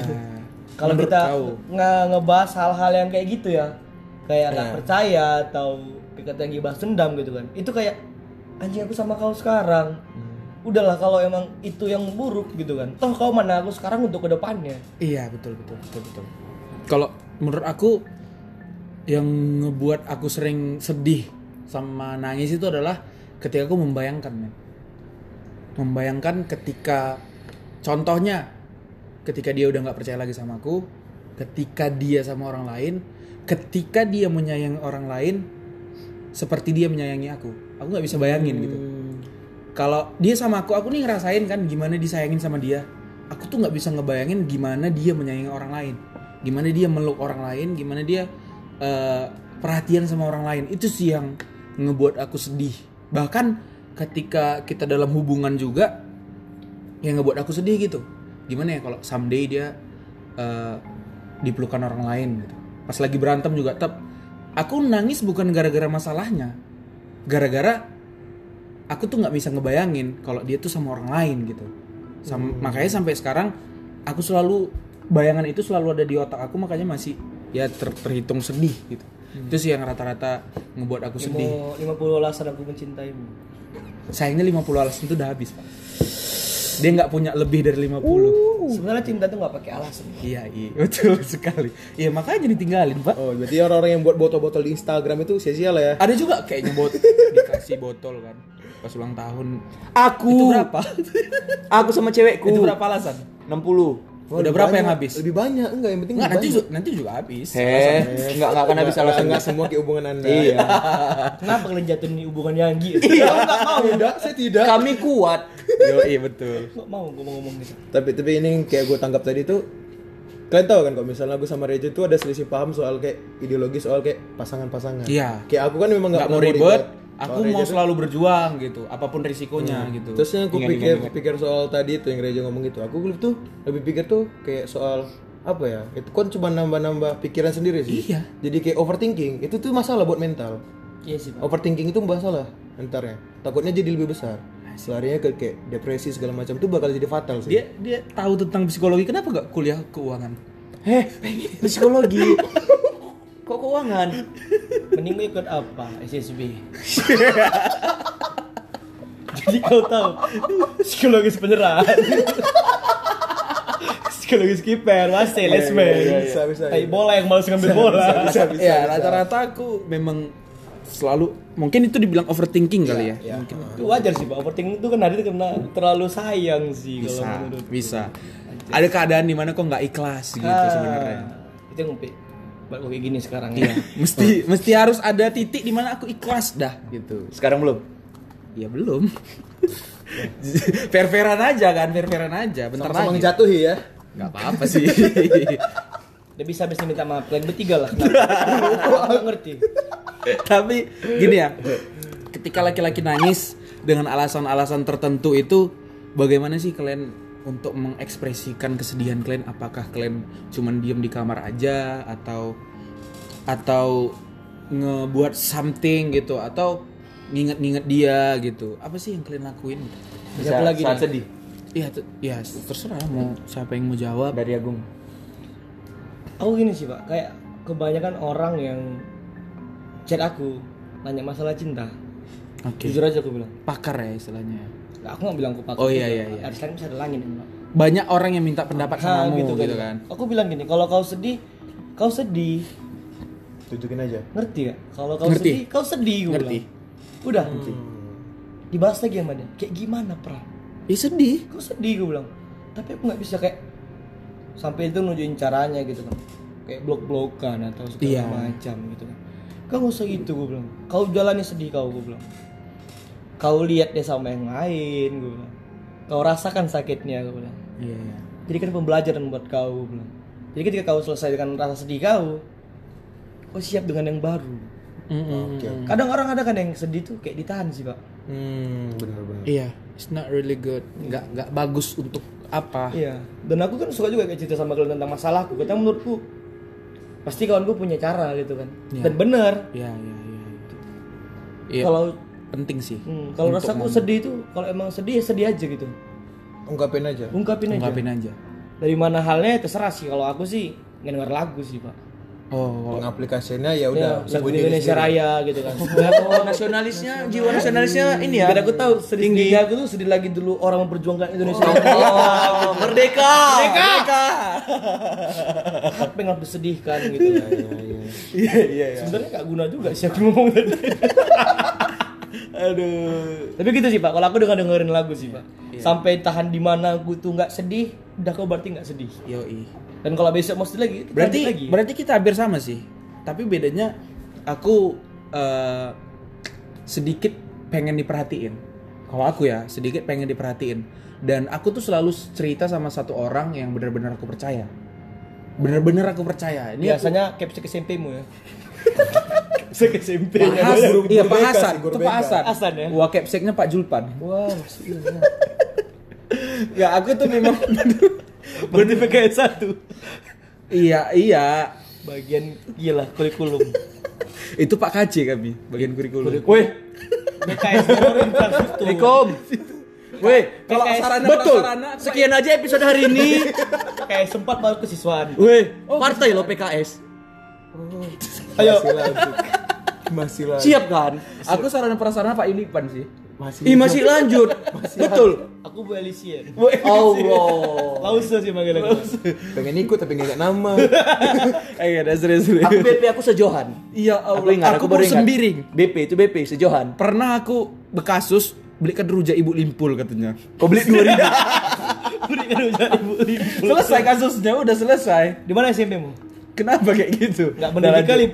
S3: Kalau
S1: Menurut
S3: kita
S1: kau.
S3: nge- ngebahas hal-hal yang kayak gitu ya,
S1: Iya.
S3: kayak nggak percaya atau kita yang bahas dendam gitu kan, itu kayak anjing aku sama kau sekarang.
S1: Hmm.
S3: Udahlah kalau emang itu yang buruk gitu kan, toh kau mana aku sekarang untuk kedepannya.
S1: Iya betul betul betul betul. Kalau menurut aku yang ngebuat aku sering sedih sama nangis itu adalah ketika aku membayangkan, men. membayangkan ketika contohnya ketika dia udah nggak percaya lagi sama aku, ketika dia sama orang lain, ketika dia menyayangi orang lain seperti dia menyayangi aku, aku nggak bisa bayangin gitu kalau dia sama aku aku nih ngerasain kan gimana disayangin sama dia aku tuh nggak bisa ngebayangin gimana dia menyayangi orang lain gimana dia meluk orang lain gimana dia eh, perhatian sama orang lain itu sih yang ngebuat aku sedih bahkan ketika kita dalam hubungan juga yang ngebuat aku sedih gitu gimana ya kalau someday dia eh, dipelukan orang lain gitu pas lagi berantem juga tetap aku nangis bukan gara-gara masalahnya gara-gara aku tuh nggak bisa ngebayangin kalau dia tuh sama orang lain gitu Sam- makanya sampai sekarang aku selalu bayangan itu selalu ada di otak aku makanya masih ya ter- terhitung sedih gitu itu sih yang rata-rata ngebuat aku sedih
S3: Mau 50 alasan aku mencintaimu.
S1: sayangnya 50 alasan itu udah habis pak dia nggak punya lebih dari 50 Uh.
S3: Sebenarnya cinta tuh nggak pakai alasan.
S1: iya iya betul sekali iya makanya ditinggalin pak
S4: oh berarti orang-orang yang buat botol-botol di Instagram itu sia-sia lah ya
S1: ada juga kayaknya bot dikasih botol kan pas ulang tahun
S2: aku
S1: itu berapa
S2: aku sama cewekku
S1: itu berapa alasan
S2: 60
S4: Wah,
S1: udah
S4: lebih
S1: berapa yang
S4: banyak.
S1: habis
S4: lebih banyak enggak yang penting
S1: Nggak,
S4: lebih
S1: nanti
S4: banyak.
S1: juga, nanti juga habis
S2: heh nggak nggak akan habis
S4: Nggak-
S2: alasan
S4: nggak semua kayak hubungan anda
S2: iya
S3: Kenapa kalian jatuhin di hubungan yang gitu? Iya, nggak mau,
S4: tidak saya tidak
S2: kami kuat
S1: Yo, iya betul.
S3: nggak mau gue mau ngomong gitu.
S4: tapi tapi ini yang kayak gue tangkap tadi tuh kalian tahu kan kalau misalnya gue sama Reja tuh ada selisih paham soal kayak ideologi soal kayak pasangan-pasangan
S1: Iya.
S4: kayak aku kan memang nggak
S1: Nggak mau
S4: pernah
S1: ribet,
S4: Kalau
S1: aku
S4: Reja
S1: mau
S4: tuh-
S1: selalu berjuang gitu, apapun risikonya gitu.
S4: Terus yang aku pikir pikir soal tadi itu yang Reja ngomong itu, aku tuh lebih pikir tuh kayak soal apa ya? Itu kan cuma nambah-nambah pikiran sendiri sih.
S1: Iya.
S4: Jadi kayak overthinking, itu tuh masalah buat mental.
S3: Iya sih pak.
S4: Overthinking itu masalah entarnya. Takutnya jadi lebih besar. Larinya ke kayak depresi segala macam itu bakal jadi fatal sih.
S1: dia dia tahu tentang psikologi, kenapa nggak kuliah keuangan?
S2: heh psikologi kok keuangan
S3: Mending gue ikut apa? SSB. Jadi kau tahu psikologis penyerang. psikologis kiper, masih last man.
S4: Bisa, bisa,
S3: Tai
S4: bisa.
S3: bola yang malas ngambil bola.
S1: ya rata-rata aku memang selalu mungkin itu dibilang overthinking kali ya, mungkin
S3: Itu wajar sih, Pak. Overthinking itu kan hari itu karena terlalu sayang sih
S1: bisa Gitu
S3: kalau menurut.
S1: bisa ada keadaan dimana kok nggak ikhlas gitu
S3: Ah,
S1: sebenarnya
S3: Itu yang ngumpi. Balik kayak gini sekarang ya.
S1: mesti mesti harus ada titik dimana aku ikhlas dah gitu
S2: Sekarang belum.
S1: ya belum fair-fairan aja kan fair-fairan aja bentar
S4: Sama-sama
S1: lagi
S4: ngejatuhi ya.
S1: nggak apa-apa sih
S3: Udah bisa bisa minta maaf. Yang bertiga lah. Kenapa? Aku ngerti.
S1: tapi gini ya ketika laki-laki nangis dengan alasan-alasan tertentu itu bagaimana sih kalian untuk mengekspresikan kesedihan kalian apakah kalian cuman diem di kamar aja atau atau ngebuat something gitu atau nginget-nginget dia gitu apa sih yang kalian lakuin
S2: Bisa
S3: Satu lagi
S2: lagi saat
S3: nih.
S2: sedih
S1: Iya, ter- ya terserah mau siapa yang mau jawab.
S2: dari Agung.
S3: aku gini sih pak kayak kebanyakan orang yang chat aku nanya masalah cinta
S1: Oke.
S3: jujur aja aku bilang
S1: Pakar ya istilahnya.
S3: Nah, aku nggak bilang aku pakai
S1: Oh, iya, iya, iya.
S3: harus lain bisa ada langit Pak.
S1: Banyak orang yang minta pendapat
S3: Nah,
S1: sama gitu, gitu kan.
S3: aku bilang gini kalau kau sedih kau sedih
S4: Tunjukin aja.
S3: ngerti gak kalau kau
S1: Ngerti.
S3: sedih kau sedih gue
S1: Ngerti. Hmm.
S3: bilang udah dibahas lagi sama dia kayak gimana pra
S1: Ya sedih.
S3: kau sedih gue bilang tapi aku nggak bisa kayak sampai itu nunjukin caranya gitu kan kayak blok-blokan atau segala
S1: Iya.
S3: macam gitu kan kau nggak usah gitu gue bilang kau jalannya sedih kau gue bilang kau lihat deh sama yang lain gue bilang kau rasakan sakitnya gue bilang
S1: Iya. iya.
S3: jadi kan pembelajaran buat kau gue bilang jadi ketika kau selesai dengan rasa sedih kau kau siap dengan yang baru
S1: Mm-mm.
S3: kadang orang ada kan yang sedih tuh kayak ditahan sih pak
S4: Hmm, bener-bener.
S1: Iya. It's not really good. Nggak nggak bagus untuk apa?
S3: Iya. Dan aku kan suka juga kayak cerita sama kalian tentang masalahku. Karena menurutku pasti kawanku punya cara gitu kan.
S1: Iya.
S3: Dan bener.
S1: Iya iya iya. Iya.
S3: Kalau
S1: penting sih.
S3: hmm, kalau rasaku sedih itu kalau emang sedih ya sedih aja gitu.
S4: Ungkapin aja.
S3: Ungkapin aja.
S1: Ungkapin aja.
S3: Dari mana halnya terserah sih. Kalau aku sih ngedenger lagu sih pak.
S1: Oh.
S4: Pengaplikasiannya
S3: Ya,
S4: ya udah
S3: lagu
S4: diri
S3: Indonesia
S4: sendiri.
S3: Raya gitu kan.
S1: Nasionalisnya, jiwa nasionalisnya ini
S3: Biar aku tahu sedih sedih aku tuh sedih lagi dulu orang memperjuangkan Indonesia.
S1: Merdeka. Merdeka.
S3: Apa yang harus disedihkan gitu. Iya iya iya. Sebenarnya nggak guna juga sih aku ngomong tadi.
S1: Aduh. Iya.
S3: Tapi gitu sih pak, kalau aku dengan dengerin lagu sih pak Sampai tahan di mana aku tuh nggak sedih, udah kau berarti nggak sedih
S1: Yoi.
S3: Dan kalau besok mau sedih lagi, itu
S1: berarti
S3: lanjut lagi
S1: berarti kita hampir sama sih tapi bedanya aku eh, sedikit pengen diperhatiin kalau aku ya sedikit pengen diperhatiin dan aku tuh selalu cerita sama satu orang yang benar-benar aku percaya benar-benar aku percaya ini aku-
S3: Biasanya caption SMP mu ya Caption SMP
S1: Pak Hasan,
S4: Guru-
S1: iya
S4: guru
S1: Pak
S4: BK
S1: Hasan,
S4: sih, guru
S1: itu Pak
S4: BK.
S1: Hasan.
S3: Hasan ya?
S1: Wah, capseknya Pak Julpan.
S3: Wah, maksudnya
S1: Ya, aku tuh memang
S3: Berarti PKS 1
S1: iya, iya.
S3: Bagian gila, kurikulum
S1: Itu Pak KC kami, bagian kurikulum.
S3: Woi PKS baru infrastruktur
S1: Weh, kalau
S3: PKS.
S1: sarana
S2: Betul.
S1: prasarana, Pak,
S2: Sekian aja episode hari ini.
S3: PKS sempat baru kesiswaan
S2: Weh,
S1: Oh,
S2: partai lo PKS.
S3: Ayo.
S4: Masih lanjut. Masih lanjut.
S2: Siap kan?
S1: aku sarana prasarana Pak Ilipan sih.
S4: Masih.
S2: Ih, masih lanjut. Betul.
S3: Aku Bu Elisien
S2: Oh, Allah.
S3: Lause sih manggil aku
S4: Pengen ikut tapi nggak ingat nama.
S1: Eh, ada serius.
S2: Aku BP aku sejohan.
S1: Iya Allah.
S2: Aku ingat, aku, baru ingat.
S1: sembiring.
S2: BP itu BP sejohan.
S1: Pernah aku bekasus beli keruja ibu limpul katanya.
S2: Kau beli 2000.
S3: Berikan ujian ibu ibu.
S1: Selesai kasusnya, udah selesai.
S3: Di mana SMP mu?
S1: Kenapa kayak gitu? Udah
S3: Gak benar
S1: lanjut.
S3: kali.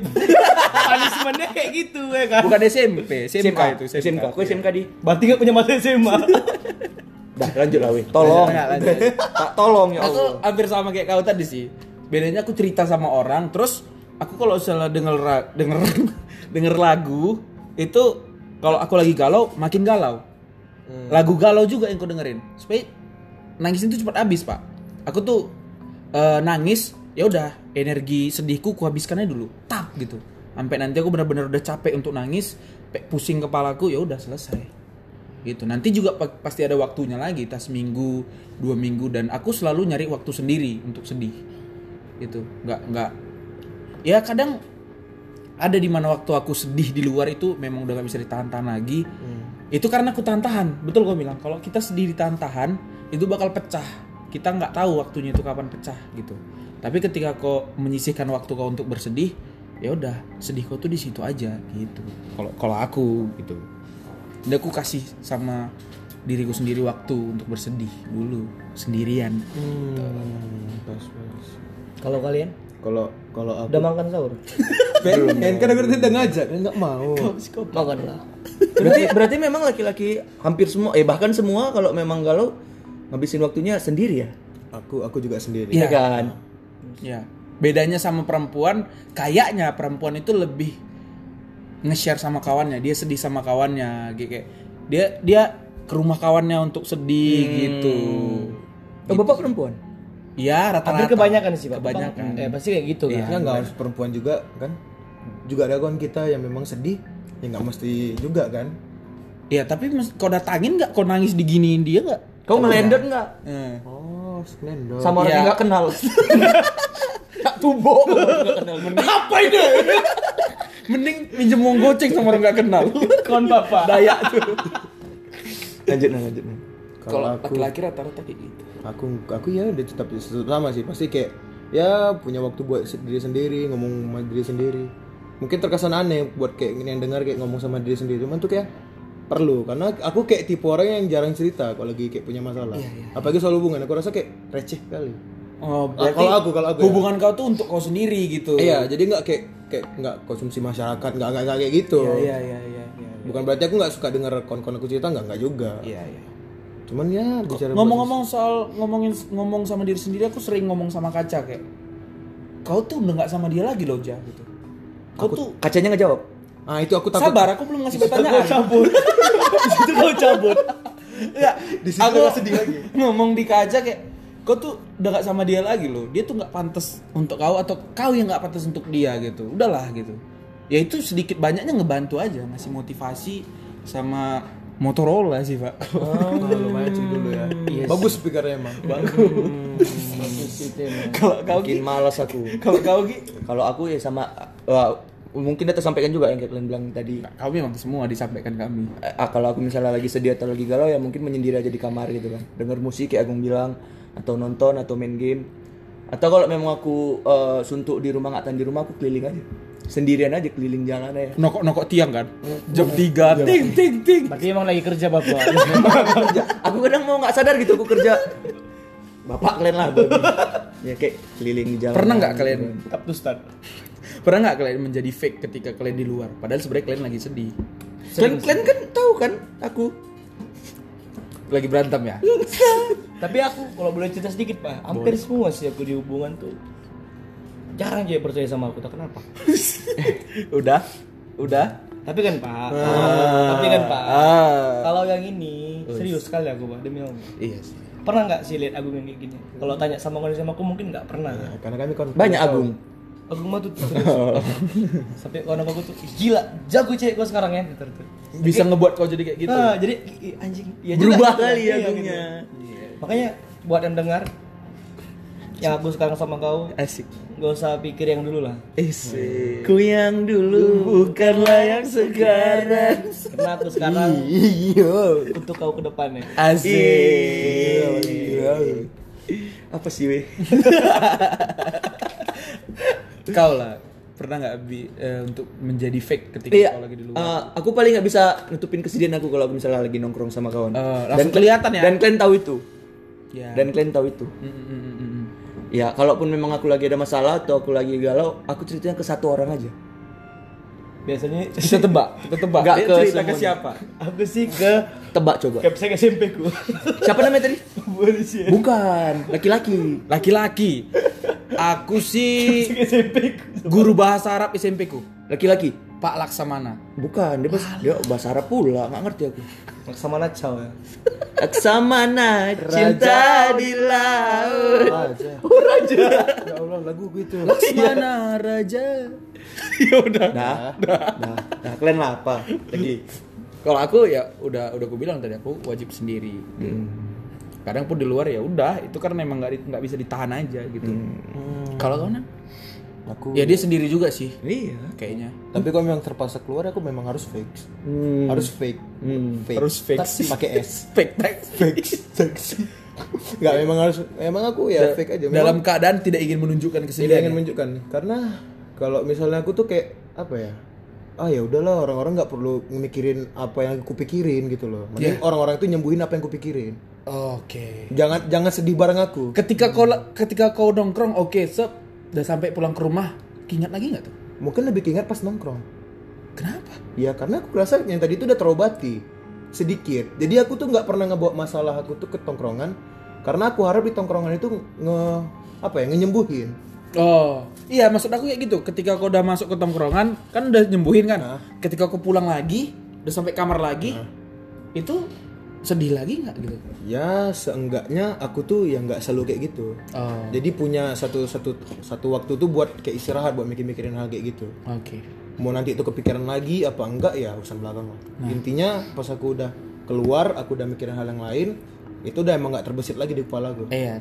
S3: Punishmentnya kayak gitu ya kan.
S1: Bukan SMP, SMK,
S2: SMK
S1: itu Iya.
S2: SMK. Aku SMK di.
S3: Berarti gak punya mata SMA.
S2: Dah, lanjut lah weh. Tolong.
S1: Lanjut, lanjut.
S2: Tak tolong ya
S1: Aku
S2: Allah.
S1: hampir sama kayak kau tadi sih. Bedanya aku cerita sama orang, terus aku kalau salah denger ra- denger denger lagu itu kalau aku lagi galau makin galau.
S2: Hmm.
S1: Lagu galau juga yang aku dengerin. Supaya nangisnya itu cepat habis, Pak. Aku tuh eh, nangis, ya udah energi sedihku kuhabiskannya dulu. Tak gitu. Sampai nanti aku benar-benar udah capek untuk nangis, pe- pusing kepalaku, ya udah selesai gitu nanti juga pa- pasti ada waktunya lagi tas minggu dua minggu dan aku selalu nyari waktu sendiri untuk sedih gitu nggak nggak ya kadang ada di mana waktu aku sedih di luar itu memang udah gak bisa ditahan-tahan lagi. Itu karena aku tahan-tahan. Betul gue bilang. Kalau kita sedih ditahan-tahan, itu bakal pecah. Kita nggak tahu waktunya itu kapan pecah gitu. Tapi ketika kau menyisihkan waktu kau untuk bersedih, ya udah sedih kau tuh di situ aja gitu. Kalau kalau aku gitu. Dan aku kasih sama diriku sendiri waktu untuk bersedih dulu sendirian.
S4: Hmm,
S3: Kalau kalian
S4: Kalau kalau aku
S3: udah makan sahur?
S4: pengen kan aku tadi udah ngajak, enggak mau.
S3: makan lah.
S2: berarti berarti memang laki-laki hampir semua eh bahkan semua kalau memang galau ngabisin waktunya sendiri ya
S4: Aku aku juga sendiri.
S2: iya kan
S1: Ya, bedanya sama perempuan, kayaknya perempuan itu lebih nge-share sama kawannya. Dia sedih sama kawannya, kayak kayak dia dia ke rumah kawannya untuk sedih gitu.
S2: oh, bapak perempuan
S1: Ya,
S3: Hampir
S1: rata-rata.
S3: kebanyakan sih pak.
S1: Kebanyakan. Iya,
S3: Bang, eh pasti kayak gitu kan.
S4: Ya nggak harus perempuan juga kan? Juga ada kawan kita yang memang sedih, ya nggak mesti juga kan?
S1: Ya, tapi mes- kau datangin nggak? Kau nangis diginiin dia nggak?
S2: kau ngelender nggak
S1: Eh.
S4: Oh, splendor.
S2: sama orang
S1: Iya.
S2: yang nggak kenal tak tubuh Nggak kenal bener.
S1: Apa ini? Mending minjem uang goceng sama orang nggak kenal.
S3: Kon bapak.
S1: Daya tuh.
S2: lanjut nah lanjut nah
S4: Kalau aku
S1: laki-laki rata-rata kayak gitu.
S4: aku aku ya udah tetap tetap sama sih pasti kayak ya punya waktu buat se- diri sendiri ngomong sama diri sendiri mungkin terkesan aneh buat kayak yang dengar kayak ngomong sama diri sendiri cuman tuh kayak perlu karena aku kayak tipe orang yang jarang cerita kalau lagi kayak punya masalah apalagi soal hubungan aku rasa kayak receh kali
S1: Oh,
S4: Ah,
S1: berarti
S4: kalau aku kalau aku ya.
S1: hubungan kau tuh untuk kau sendiri gitu.
S4: iya jadi nggak kayak kayak nggak konsumsi masyarakat nggak nggak nggak kayak gitu
S1: Iya, iya, iya, iya.
S4: bukan berarti aku nggak suka denger kawan-kawan aku cerita nggak nggak juga
S1: Iya, iya.
S4: cuman ya bicara
S1: ngomong-ngomong soal ngomongin ngomong sama diri sendiri aku sering ngomong sama kaca kayak kau tuh udah nggak sama dia lagi loh ja gitu kau tuh
S2: kacanya nggak jawab
S4: ah itu aku takut
S1: sabar aku belum ngasih pertanyaan cabut
S3: Itu kau cabut.
S1: ya
S4: Di situ
S1: aku
S4: nggak sedih lagi.
S1: ngomong di kaca kayak kau tuh udah nggak sama dia lagi loh dia tuh nggak pantas untuk kau atau kau yang nggak pantas untuk dia gitu udahlah gitu ya itu sedikit banyaknya ngebantu aja ngasih motivasi sama Motorola sih pak
S4: Oh, lumayan sih dulu ya
S1: Iya
S4: bagus speakernya emang
S1: kalau kau
S2: makin malas aku
S1: kalau kau Gi,
S2: kalau aku ya sama wah, mungkin dia tersampaikan juga yang kayak kalian bilang tadi
S1: kau memang semua disampaikan kami
S2: Ah, kalau aku misalnya lagi sedih atau lagi galau ya mungkin menyendiri aja di kamar gitu kan denger musik kayak Agung bilang atau nonton atau main game atau kalau memang aku eh, suntuk di rumah nggak tahan di rumah aku keliling aja sendirian aja keliling jalan aja
S1: nokok-nokok tiang kan jam 3 ting ting ting
S3: Berarti emang lagi kerja bapak.
S2: aku kadang mau nggak sadar gitu aku kerja bapak kalian lah babi. ya kayak keliling di jalan
S1: pernah nggak kalian
S3: Tetap tuh start.
S1: pernah nggak kalian menjadi fake ketika kalian di luar padahal sebenarnya kalian lagi sedih
S2: kalian, kalian kan tahu kan aku
S1: lagi berantem ya
S3: Tapi aku kalau boleh cerita sedikit pak, hampir semua sih aku di hubungan tuh jarang aja percaya sama aku. Tak kenapa?
S2: udah udah
S3: Tapi kan pak, tapi kan pak, kalau yang ini serius sekali aku pak demi allah.
S1: iya sih
S3: Pernah nggak sih lihat Agung yang kayak gini? Kalau tanya sama kondisi sama aku mungkin nggak pernah.
S4: Nah, karena kami konflik
S2: banyak Agung
S3: Agung mah tuh serius. sampai kawan aku tuh "Ih, gila, jago cewek gua sekarang ya. Gitu, gitu.
S1: bisa ngebuat kau jadi kayak gitu
S3: Ah, jadi i- i- anjing, iya
S2: Berubah
S3: juga.
S2: kali ya
S3: Iya,
S2: Agungnya.
S3: gitu. Makanya buat yang dengar, yang aku sekarang sama kau,
S1: asik
S3: gak usah pikir yang dulu lah.
S2: Ku yang dulu bukanlah yang sekarang.
S3: Karena aku sekarang untuk kau ke ya. depannya.
S2: Iya, Asik. Apa sih weh?
S1: kau lah pernah nggak Bi, eh, untuk menjadi fake ketika
S2: Iya.
S1: kau lagi di luar
S2: eh, aku paling nggak bisa nutupin kesedihan aku kalau aku misalnya lagi nongkrong sama kawan.
S1: Eh, langsung kelihatan ya?
S2: Dan kalian tahu itu.
S1: ya
S2: Dan kalian tahu itu.
S1: Mm, mm, mm, mm, mm.
S2: Ya, kalaupun memang aku lagi ada masalah atau aku lagi galau, aku ceritanya ke satu orang aja.
S3: Biasanya
S1: kita tebak kita tebak
S2: Nggak
S1: Dia
S2: ke
S1: cerita ke
S2: semuanya.
S1: siapa
S3: aku sih ke
S2: Tebak coba.
S3: kapsek SMP ku.
S2: Siapa namanya tadi?
S3: Polisi
S2: Bukan, laki-laki.
S1: laki-laki aku sih
S3: SMP ku.
S1: guru bahasa Arab SMP ku
S2: Laki-laki.
S1: Pak Laksamana
S2: Bukan, dia bahasa, dia bahasa Arab pula, nggak ngerti aku.
S3: Sama Nacau ya.
S2: Laksamana cinta di laut. Oh,
S4: aja ya Allah lagu gitu
S3: iya.
S1: Laksamana Raja ya udah
S2: Nah, nah, nah, kalian lah apa lagi?
S1: Kalau aku ya udah udah aku bilang tadi aku wajib sendiri.
S4: Hmm.
S1: Kadang kan
S4: Hmm.
S1: pun di luar ya udah itu karena emang nggak di- nggak bisa ditahan aja gitu. Kalau kau Nan?
S4: aku
S1: Ya dia sendiri juga sih
S2: Iya.
S1: kayaknya.
S4: tapi kalau memang terpaksa keluar aku memang harus fake
S1: Hmm.
S4: harus fake fake harus fake pakai s
S1: Fake text.
S4: fake nggak memang harus memang aku ya fake aja memang
S1: Dalam keadaan tidak ingin menunjukkan
S4: tidak ingin
S1: kesedihan.
S4: menunjukkan karena kalau misalnya aku tuh kayak apa ya ah ya udahlah orang-orang nggak perlu mikirin apa yang aku pikirin gitu loh mending orang-orang itu nyembuhin apa yang aku pikirin
S1: Oke.
S4: jangan jangan sedih bareng aku
S1: Ketika kau ketika kau nongkrong, oke, sep, udah sampai pulang ke rumah, ingat lagi nggak tuh?
S4: mungkin lebih keinget pas nongkrong
S1: Kenapa?
S4: ya karena aku rasa yang tadi itu udah terobati sedikit jadi aku tuh nggak pernah ngebawa masalah aku tuh ke tongkrongan karena aku harap di tongkrongan itu nge apa ya ngenyembuhin
S1: Oh, iya maksud aku kayak gitu. Ketika kau udah masuk ke tongkrongan, kan udah nyembuhin kan.
S4: Nah.
S1: Ketika kau pulang lagi, udah sampai kamar lagi, itu sedih lagi nggak gitu?
S4: ya seenggaknya aku tuh ya nggak selalu kayak gitu
S1: Oh,
S4: Jadi punya satu satu satu waktu tuh buat kayak istirahat buat mikir-mikirin hal kayak gitu.
S1: oke.
S4: Mau nanti itu kepikiran lagi apa enggak ya urusan belakang lah.
S2: Nah.
S4: Intinya pas aku udah keluar, aku udah mikirin hal yang lain, itu udah emang nggak terbesit lagi di kepala
S2: Eh,
S4: aku.
S1: Iya.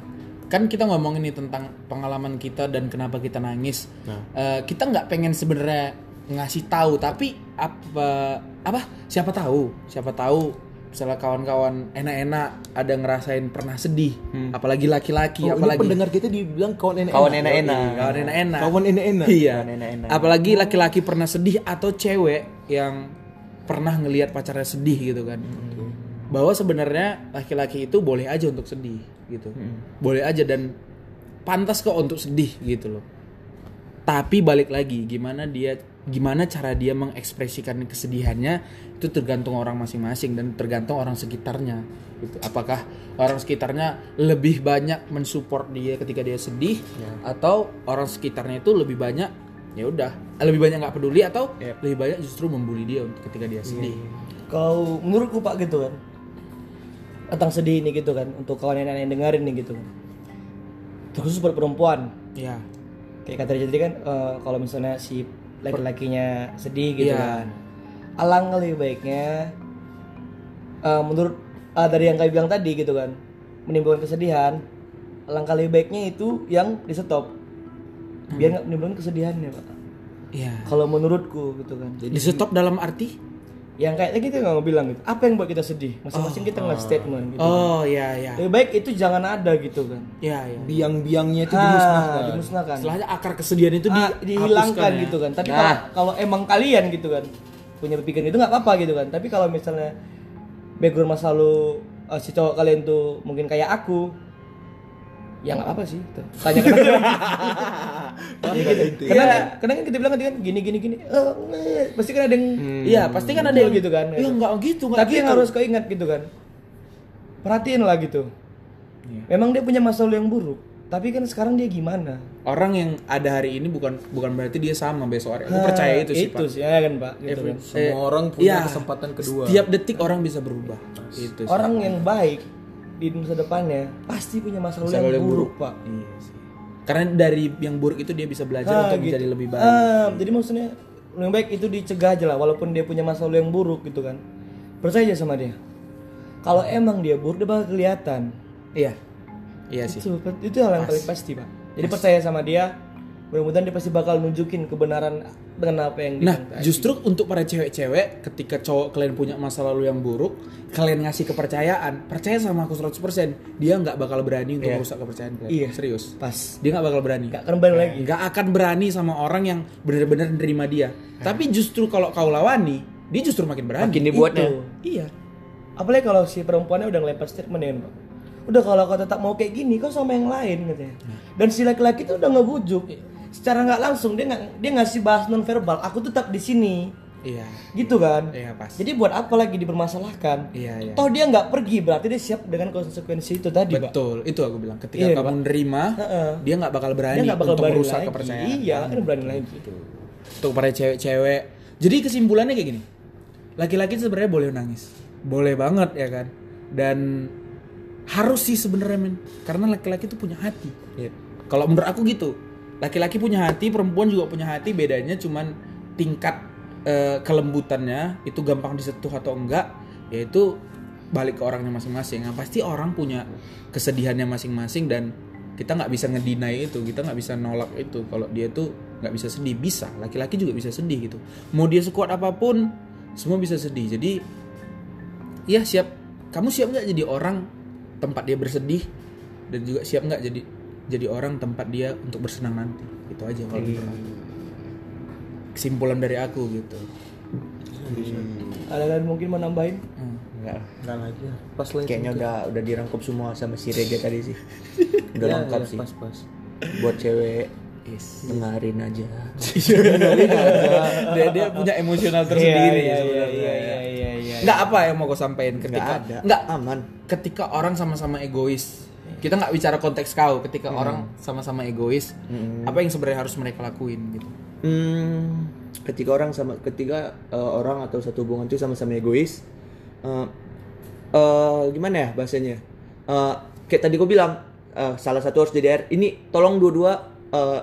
S1: Kan kita ngomongin nih tentang pengalaman kita dan kenapa kita nangis.
S4: Nah.
S1: Eh, kita nggak pengen sebenarnya ngasih tahu, tapi apa apa siapa tahu, siapa tahu misalnya kawan-kawan enak-enak ada ngerasain pernah sedih, apalagi laki-laki,
S4: Hmm. Oh, ini
S1: apalagi
S4: pendengar kita dibilang kawan enak-enak.
S2: Kawan enak-enak.
S1: kawan enak-enak.
S4: Kawan enak-enak.
S1: Iya.
S2: Kawan enak-enak.
S1: Apalagi laki-laki pernah sedih atau cewek yang pernah ngelihat pacarnya sedih gitu kan. Bahwa sebenarnya laki-laki itu boleh aja untuk sedih gitu. Boleh aja dan pantas kok untuk sedih gitu loh. Tapi balik lagi gimana dia gimana cara dia mengekspresikan kesedihannya itu tergantung orang masing-masing dan tergantung orang sekitarnya gitu. Apakah orang sekitarnya lebih banyak mensupport dia ketika dia sedih atau orang sekitarnya itu lebih banyak ya udah lebih banyak nggak peduli atau lebih banyak justru membuli dia untuk ketika dia sedih.
S3: Kalau menurutku Pak gitu kan. Tentang sedih ini gitu kan untuk kawan yang yang dengerin nih gitu kan. Terkhusus buat perempuan.
S1: Ya.
S3: Kayak kata Reza tadi kan eh, kalau misalnya si laki-lakinya sedih gitu
S1: Iya.
S3: kan. Alangkah lebih baiknya eh, menurut eh, dari yang kayak bilang tadi gitu kan menimbulkan kesedihan alangkah lebih baiknya itu yang di stop
S1: Hmm.
S3: biar nggak menimbulkan kesedihannya pak
S1: Iya.
S3: kalau menurutku gitu kan
S1: Di stop dalam arti?
S3: yang kayak kita nggak mau bilang gitu apa yang buat kita sedih masing-masing kita nggak statement gitu
S1: Oh ya ya.
S3: lebih baik itu jangan ada gitu kan
S1: Ya ya.
S4: Biang-biangnya itu
S3: ah
S4: dimusnahkan.
S3: dimusnahkan
S1: Setelahnya akar kesedihan itu
S3: Ah,
S1: di-
S3: dihilangkan
S1: hapuskan ya.
S3: gitu kan tapi kalau kalau emang kalian gitu kan punya pikiran itu nggak apa-apa gitu kan tapi kalau misalnya background masa lalu eh, si cowok kalian tuh mungkin kayak aku ya nggak apa sih itu tanya ke Iya, kadang kan- kadang kan kita bilang tadi kan gini gini gini eh, eh, pasti kan ada yang
S1: Iya, pasti kan ada yang
S3: gitu kan
S1: Ya enggak gitu, enggak
S3: tapi yang harus kau ingat gitu kan perhatiin lah gitu
S1: Iya.
S3: memang dia punya masa lalu yang buruk tapi kan sekarang dia gimana
S1: orang yang ada hari ini bukan bukan berarti dia sama besok hari. Aku percaya itu sih,
S3: Nah, itu
S1: Pak.
S3: sih ya kan pak gitu kan.
S4: Semua orang punya
S1: iya.
S4: kesempatan kedua.
S1: Setiap detik orang bisa berubah. Itu sih.
S3: orang yang baik di masa depannya pasti punya masa lalu yang, buruk, pak
S1: Iya sih. Karena dari yang buruk itu dia bisa belajar
S3: Ah,
S1: untuk
S3: gitu.
S1: menjadi lebih baik.
S3: Ah, jadi maksudnya yang baik itu dicegah aja lah walaupun dia punya masa lalu yang buruk gitu kan percaya aja sama dia kalau emang dia buruk dia bakal kelihatan
S1: Iya. Iya sih.
S3: itu, itu hal yang paling pasti pak jadi percaya sama dia mudah-mudahan dia pasti bakal nunjukin kebenaran dengan apa yang
S1: Nah,
S3: diminta.
S1: justru untuk para cewek-cewek ketika cowok kalian punya masa lalu yang buruk, kalian ngasih kepercayaan, percaya sama aku 100%, dia nggak bakal berani untuk merusak kepercayaan kalian.
S3: Iya.
S1: Serius.
S3: pas
S1: Dia nggak bakal berani.
S3: gak kembali lagi
S1: nggak akan berani sama orang yang benar-benar nerima dia. Tapi justru kalau kau lawani, dia justru makin berani.
S2: Makin dibuatnya.
S1: Itu. Iya.
S3: apalagi kalau si perempuannya udah ngelempar statement ya kan, Pak. udah kalau kau tetap mau kayak gini kau sama yang lain katanya
S1: Iya.
S3: dan si laki-laki itu udah ngebujuk secara nggak langsung dia nggak- dia ngasih bahas non verbal aku tetap di sini
S1: Iya.
S3: gitu kan
S1: Iya pas.
S3: jadi buat apa lagi dipermasalahkan
S1: Iya, iya.
S3: toh dia nggak pergi berarti dia siap dengan konsekuensi itu tadi pak
S1: Betul, itu aku bilang. Ketika
S3: Iya,
S1: kamu nerima,
S3: Heeh.
S1: dia nggak bakal berani
S3: dia nggak bakal
S1: untuk
S3: berani
S1: merusak
S3: lagi
S1: kepercayaan.
S3: iya kan berani lagi
S1: Untuk para cewek-cewek. Jadi kesimpulannya kayak gini. Laki-laki sebenarnya boleh nangis. Boleh banget ya kan. Dan harus sih sebenarnya men karena laki-laki itu punya hati. Kalau menurut aku gitu. Laki-laki punya hati, perempuan juga punya hati, bedanya cuman tingkat eh, kelembutannya itu gampang disentuh atau enggak yaitu balik ke orangnya masing-masing. Nah, pasti orang punya kesedihannya masing-masing dan kita nggak bisa ngedinai itu, kita nggak bisa nolak itu kalau dia tuh nggak bisa sedih bisa laki-laki juga bisa sedih gitu mau dia sekuat apapun semua bisa sedih jadi ya siap kamu siap nggak jadi orang tempat dia bersedih dan juga siap nggak jadi jadi orang tempat dia untuk bersenang nanti itu aja kalau menurut aku. kesimpulan dari aku gitu
S3: Ada kalian mungkin mau nambahin?
S1: Hmm.
S2: Enggak lah.
S4: Enggak lagi lah. Pas lah itu.
S2: Kayaknya udah Ah, udah dirangkup semua sama si Rega tadi sih. Udah
S4: Ya,
S2: lengkap
S4: ya,
S2: sih.
S4: Pas pas.
S2: Buat cewek dengerin aja.
S1: dia, dia punya emosional tersendiri
S3: Iya, iya,
S1: sebenarnya.
S3: iya, iya, iya, iya.
S1: nggak apa yang mau gue sampaikan ketika
S2: Enggak ada.
S1: nggak
S2: aman.
S1: ketika orang sama-sama egois kita nggak bicara konteks kau ketika orang sama-sama egois apa yang sebenarnya harus mereka lakuin gitu
S2: Hmm, ketika orang sama ketika eh, orang atau satu hubungan itu sama-sama egois, eh, eh, gimana ya bahasanya? Eh, kayak tadi gue bilang eh, salah satu harus DDR. Ini tolong dua-dua eh,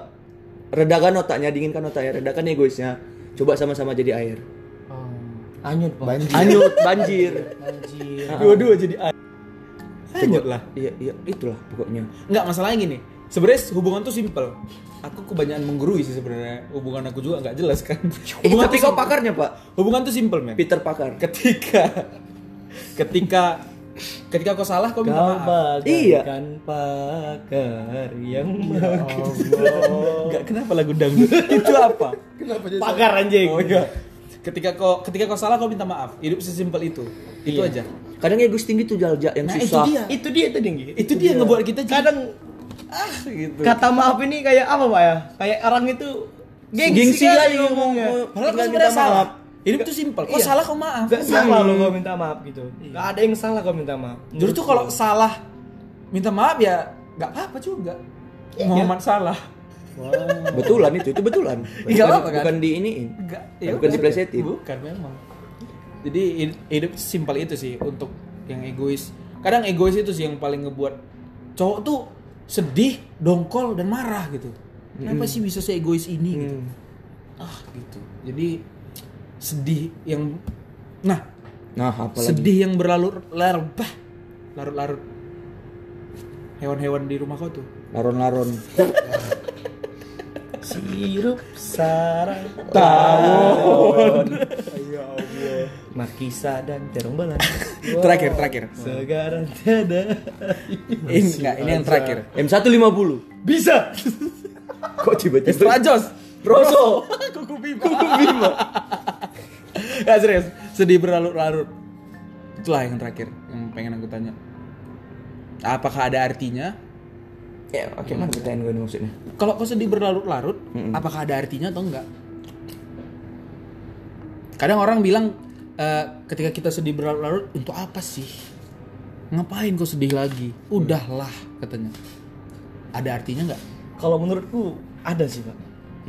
S2: redakan otaknya, dinginkan otaknya, redakan egoisnya. Coba sama-sama jadi air.
S3: Anyut, Pak.
S2: Anyut, banjir.
S3: Anjir.
S1: dua-dua jadi lanjut lah
S2: Iya, iya, itulah pokoknya.
S1: nggak masalahnya gini sebenarnya hubungan tuh simple aku kebanyakan menggurui sih sebenarnya hubungan aku juga nggak jelas kan
S2: Eh,
S1: hubungan
S2: tapi
S1: tuh
S2: kau
S1: sim-
S2: pakarnya, Pak.
S1: hubungan tuh simple men
S2: Peter Pakar.
S1: ketika ketika ketika kau salah kau minta
S3: Kau
S1: maaf
S2: bagaikan
S1: Iya.
S3: bagaikan pagar yang
S1: Ya nggak kenapa lagu dangdut itu apa
S4: Kenapa jadi
S3: pagar anjing.
S1: oh iya ketika kau ketika kau salah kau minta maaf hidup sesimpel itu itu aja
S2: Kadang egois tinggi tuh jaljak yang
S1: Nah, itu
S2: susah.
S1: dia.
S3: Itu dia tadi Nggi.
S1: itu dia yang ngebuat kita jadi-
S3: kadang
S1: ah gitu
S3: kata maaf ini kayak apa Pak ya? Kayak orang itu gengsi,
S2: Gengsi
S3: kali kan
S2: kali ngomongnya.
S1: Padahal kau
S2: Tinggal
S1: sebenarnya
S2: minta maaf.
S1: salah. Hidup tuh simpel. Kau salah kau maaf.
S3: Gak salah lo kalau minta maaf gitu. Gak ada yang salah kalau minta maaf.
S1: Justru tuh kalau salah minta maaf ya nggak apa-apa juga. Muhammad salah.
S2: Betulan itu, itu betulan.
S1: Ih, nggak
S2: Bukan-
S1: apa-apa, kan?
S2: Bukan di iniin.
S1: Enggak,
S2: Bukan
S1: Ya
S2: diplesetin.
S1: Bukan memang. Jadi hid- hidup simpel itu sih untuk yang egois. Kadang egois itu sih yang paling ngebuat cowok tuh sedih, dongkol dan marah gitu. Kenapa sih bisa se-egois ini gitu?
S2: Mm.
S1: Ah, gitu. Jadi sedih yang nah
S2: Nah, apa
S1: sedih yang berlarut larut larut-larut hewan-hewan di rumah kau tuh
S2: Laron-laron.
S3: sirup sarang
S2: Tawon.
S3: makisa dan terong belan
S1: terakhir terakhir
S3: segaran tiada
S1: ini enggak ini yang terakhir
S2: M150.
S3: bisa
S2: Kok tiba-tiba?
S1: Strajos Rosso kuku bima kuku bima ya serius sedih berlarut-larut itulah yang terakhir yang pengen aku tanya apakah ada artinya
S2: Ya, oke, mana pertanyaan gue nih maksudnya?
S1: kalau kau sedih berlarut-larut apakah ada artinya atau enggak kadang orang bilang eh, ketika kita sedih berlarut-larut untuk apa sih ngapain kau sedih lagi udahlah katanya ada artinya nggak
S3: kalau menurutku ada sih pak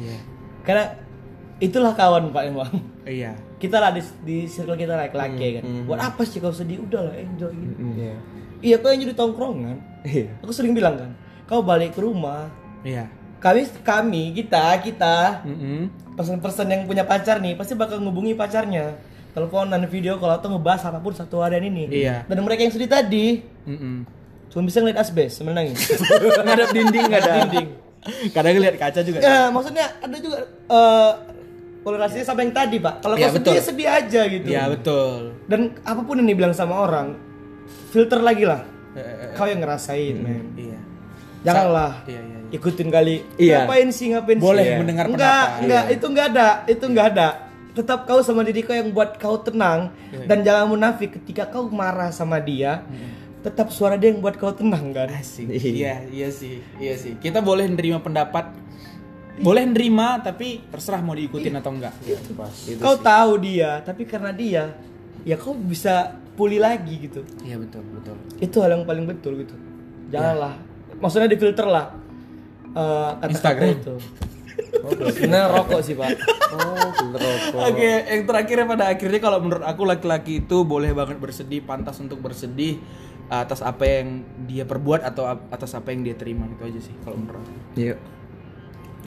S1: iya
S3: karena itulah kawan pak emang
S1: iya
S3: kita lah di, di circle kita lah
S1: Hmm,
S3: laki kan buat apa sih kau sedih udah lah enjoy gitu
S4: Iya.
S3: iya kau yang jadi tongkrongan aku sering bilang kan kau balik ke rumah
S1: iya
S3: kami kami kita kita
S1: Mm-mm.
S3: person-person yang punya pacar nih pasti bakal ngubungi pacarnya teleponan video kalau atau ngebahas apapun satu harian ini
S1: Iya.
S3: dan mereka yang sedih tadi
S1: Mm-mm.
S3: cuma bisa ngeliat asbes sambil nangis
S2: Ngadap dinding enggak ada.
S1: kadang lihat kaca juga
S3: ya, maksudnya ada juga eh korelasinya sama yang tadi pak kalau
S1: Iya,
S3: kau sedih
S1: betul.
S3: ya sedih aja gitu
S1: iya betul
S3: dan apapun yang dibilang sama orang filter lagi lah
S1: Eh,
S3: kau yang ngerasain men
S1: iya
S3: janganlah
S1: Iya, iya, iya.
S3: ikutin kali
S2: Iya.
S3: ngapain sih ngapain sih?
S1: Boleh
S3: Iya.
S1: mendengar
S3: enggak
S1: pendapat. Iya,
S3: enggak itu enggak ada itu enggak ada tetap kau sama diri kau yang buat kau tenang
S1: Iya,
S3: dan jangan munafik ketika kau marah sama dia
S1: Hmm.
S3: tetap suara dia yang buat kau tenang kan
S1: Asik. Iya, iya sih, iya sih. Kita boleh nerima pendapat, boleh nerima tapi terserah mau diikutin atau enggak.
S3: kau tahu dia tapi karena dia ya kau bisa pulih lagi gitu
S1: Iya betul, betul.
S3: itu hal yang paling betul gitu janganlah maksudnya difilter lah eh, kata-kata
S1: Instagram.
S3: itu nah rokok sih pak
S4: Oh, filter rokok.
S1: Oke, yang terakhir ya pada akhirnya kalau menurut aku laki-laki itu boleh banget bersedih, pantas untuk bersedih atas apa yang dia perbuat atau ap- atas apa yang dia terima gitu aja sih kalau menurut aku.
S2: Iya.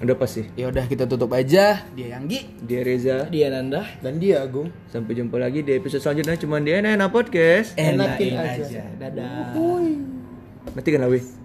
S2: Udah pasti.
S1: Ya udah kita tutup aja. Dia Yanggi.
S2: Dia Reza.
S3: dia nanda
S4: Dan dia Agung.
S2: Sampai jumpa lagi di episode selanjutnya cuman di Enak Podcast.
S1: Enakin,
S3: Enakin
S1: aja.
S3: dadah
S2: Nanti kan lah, weh.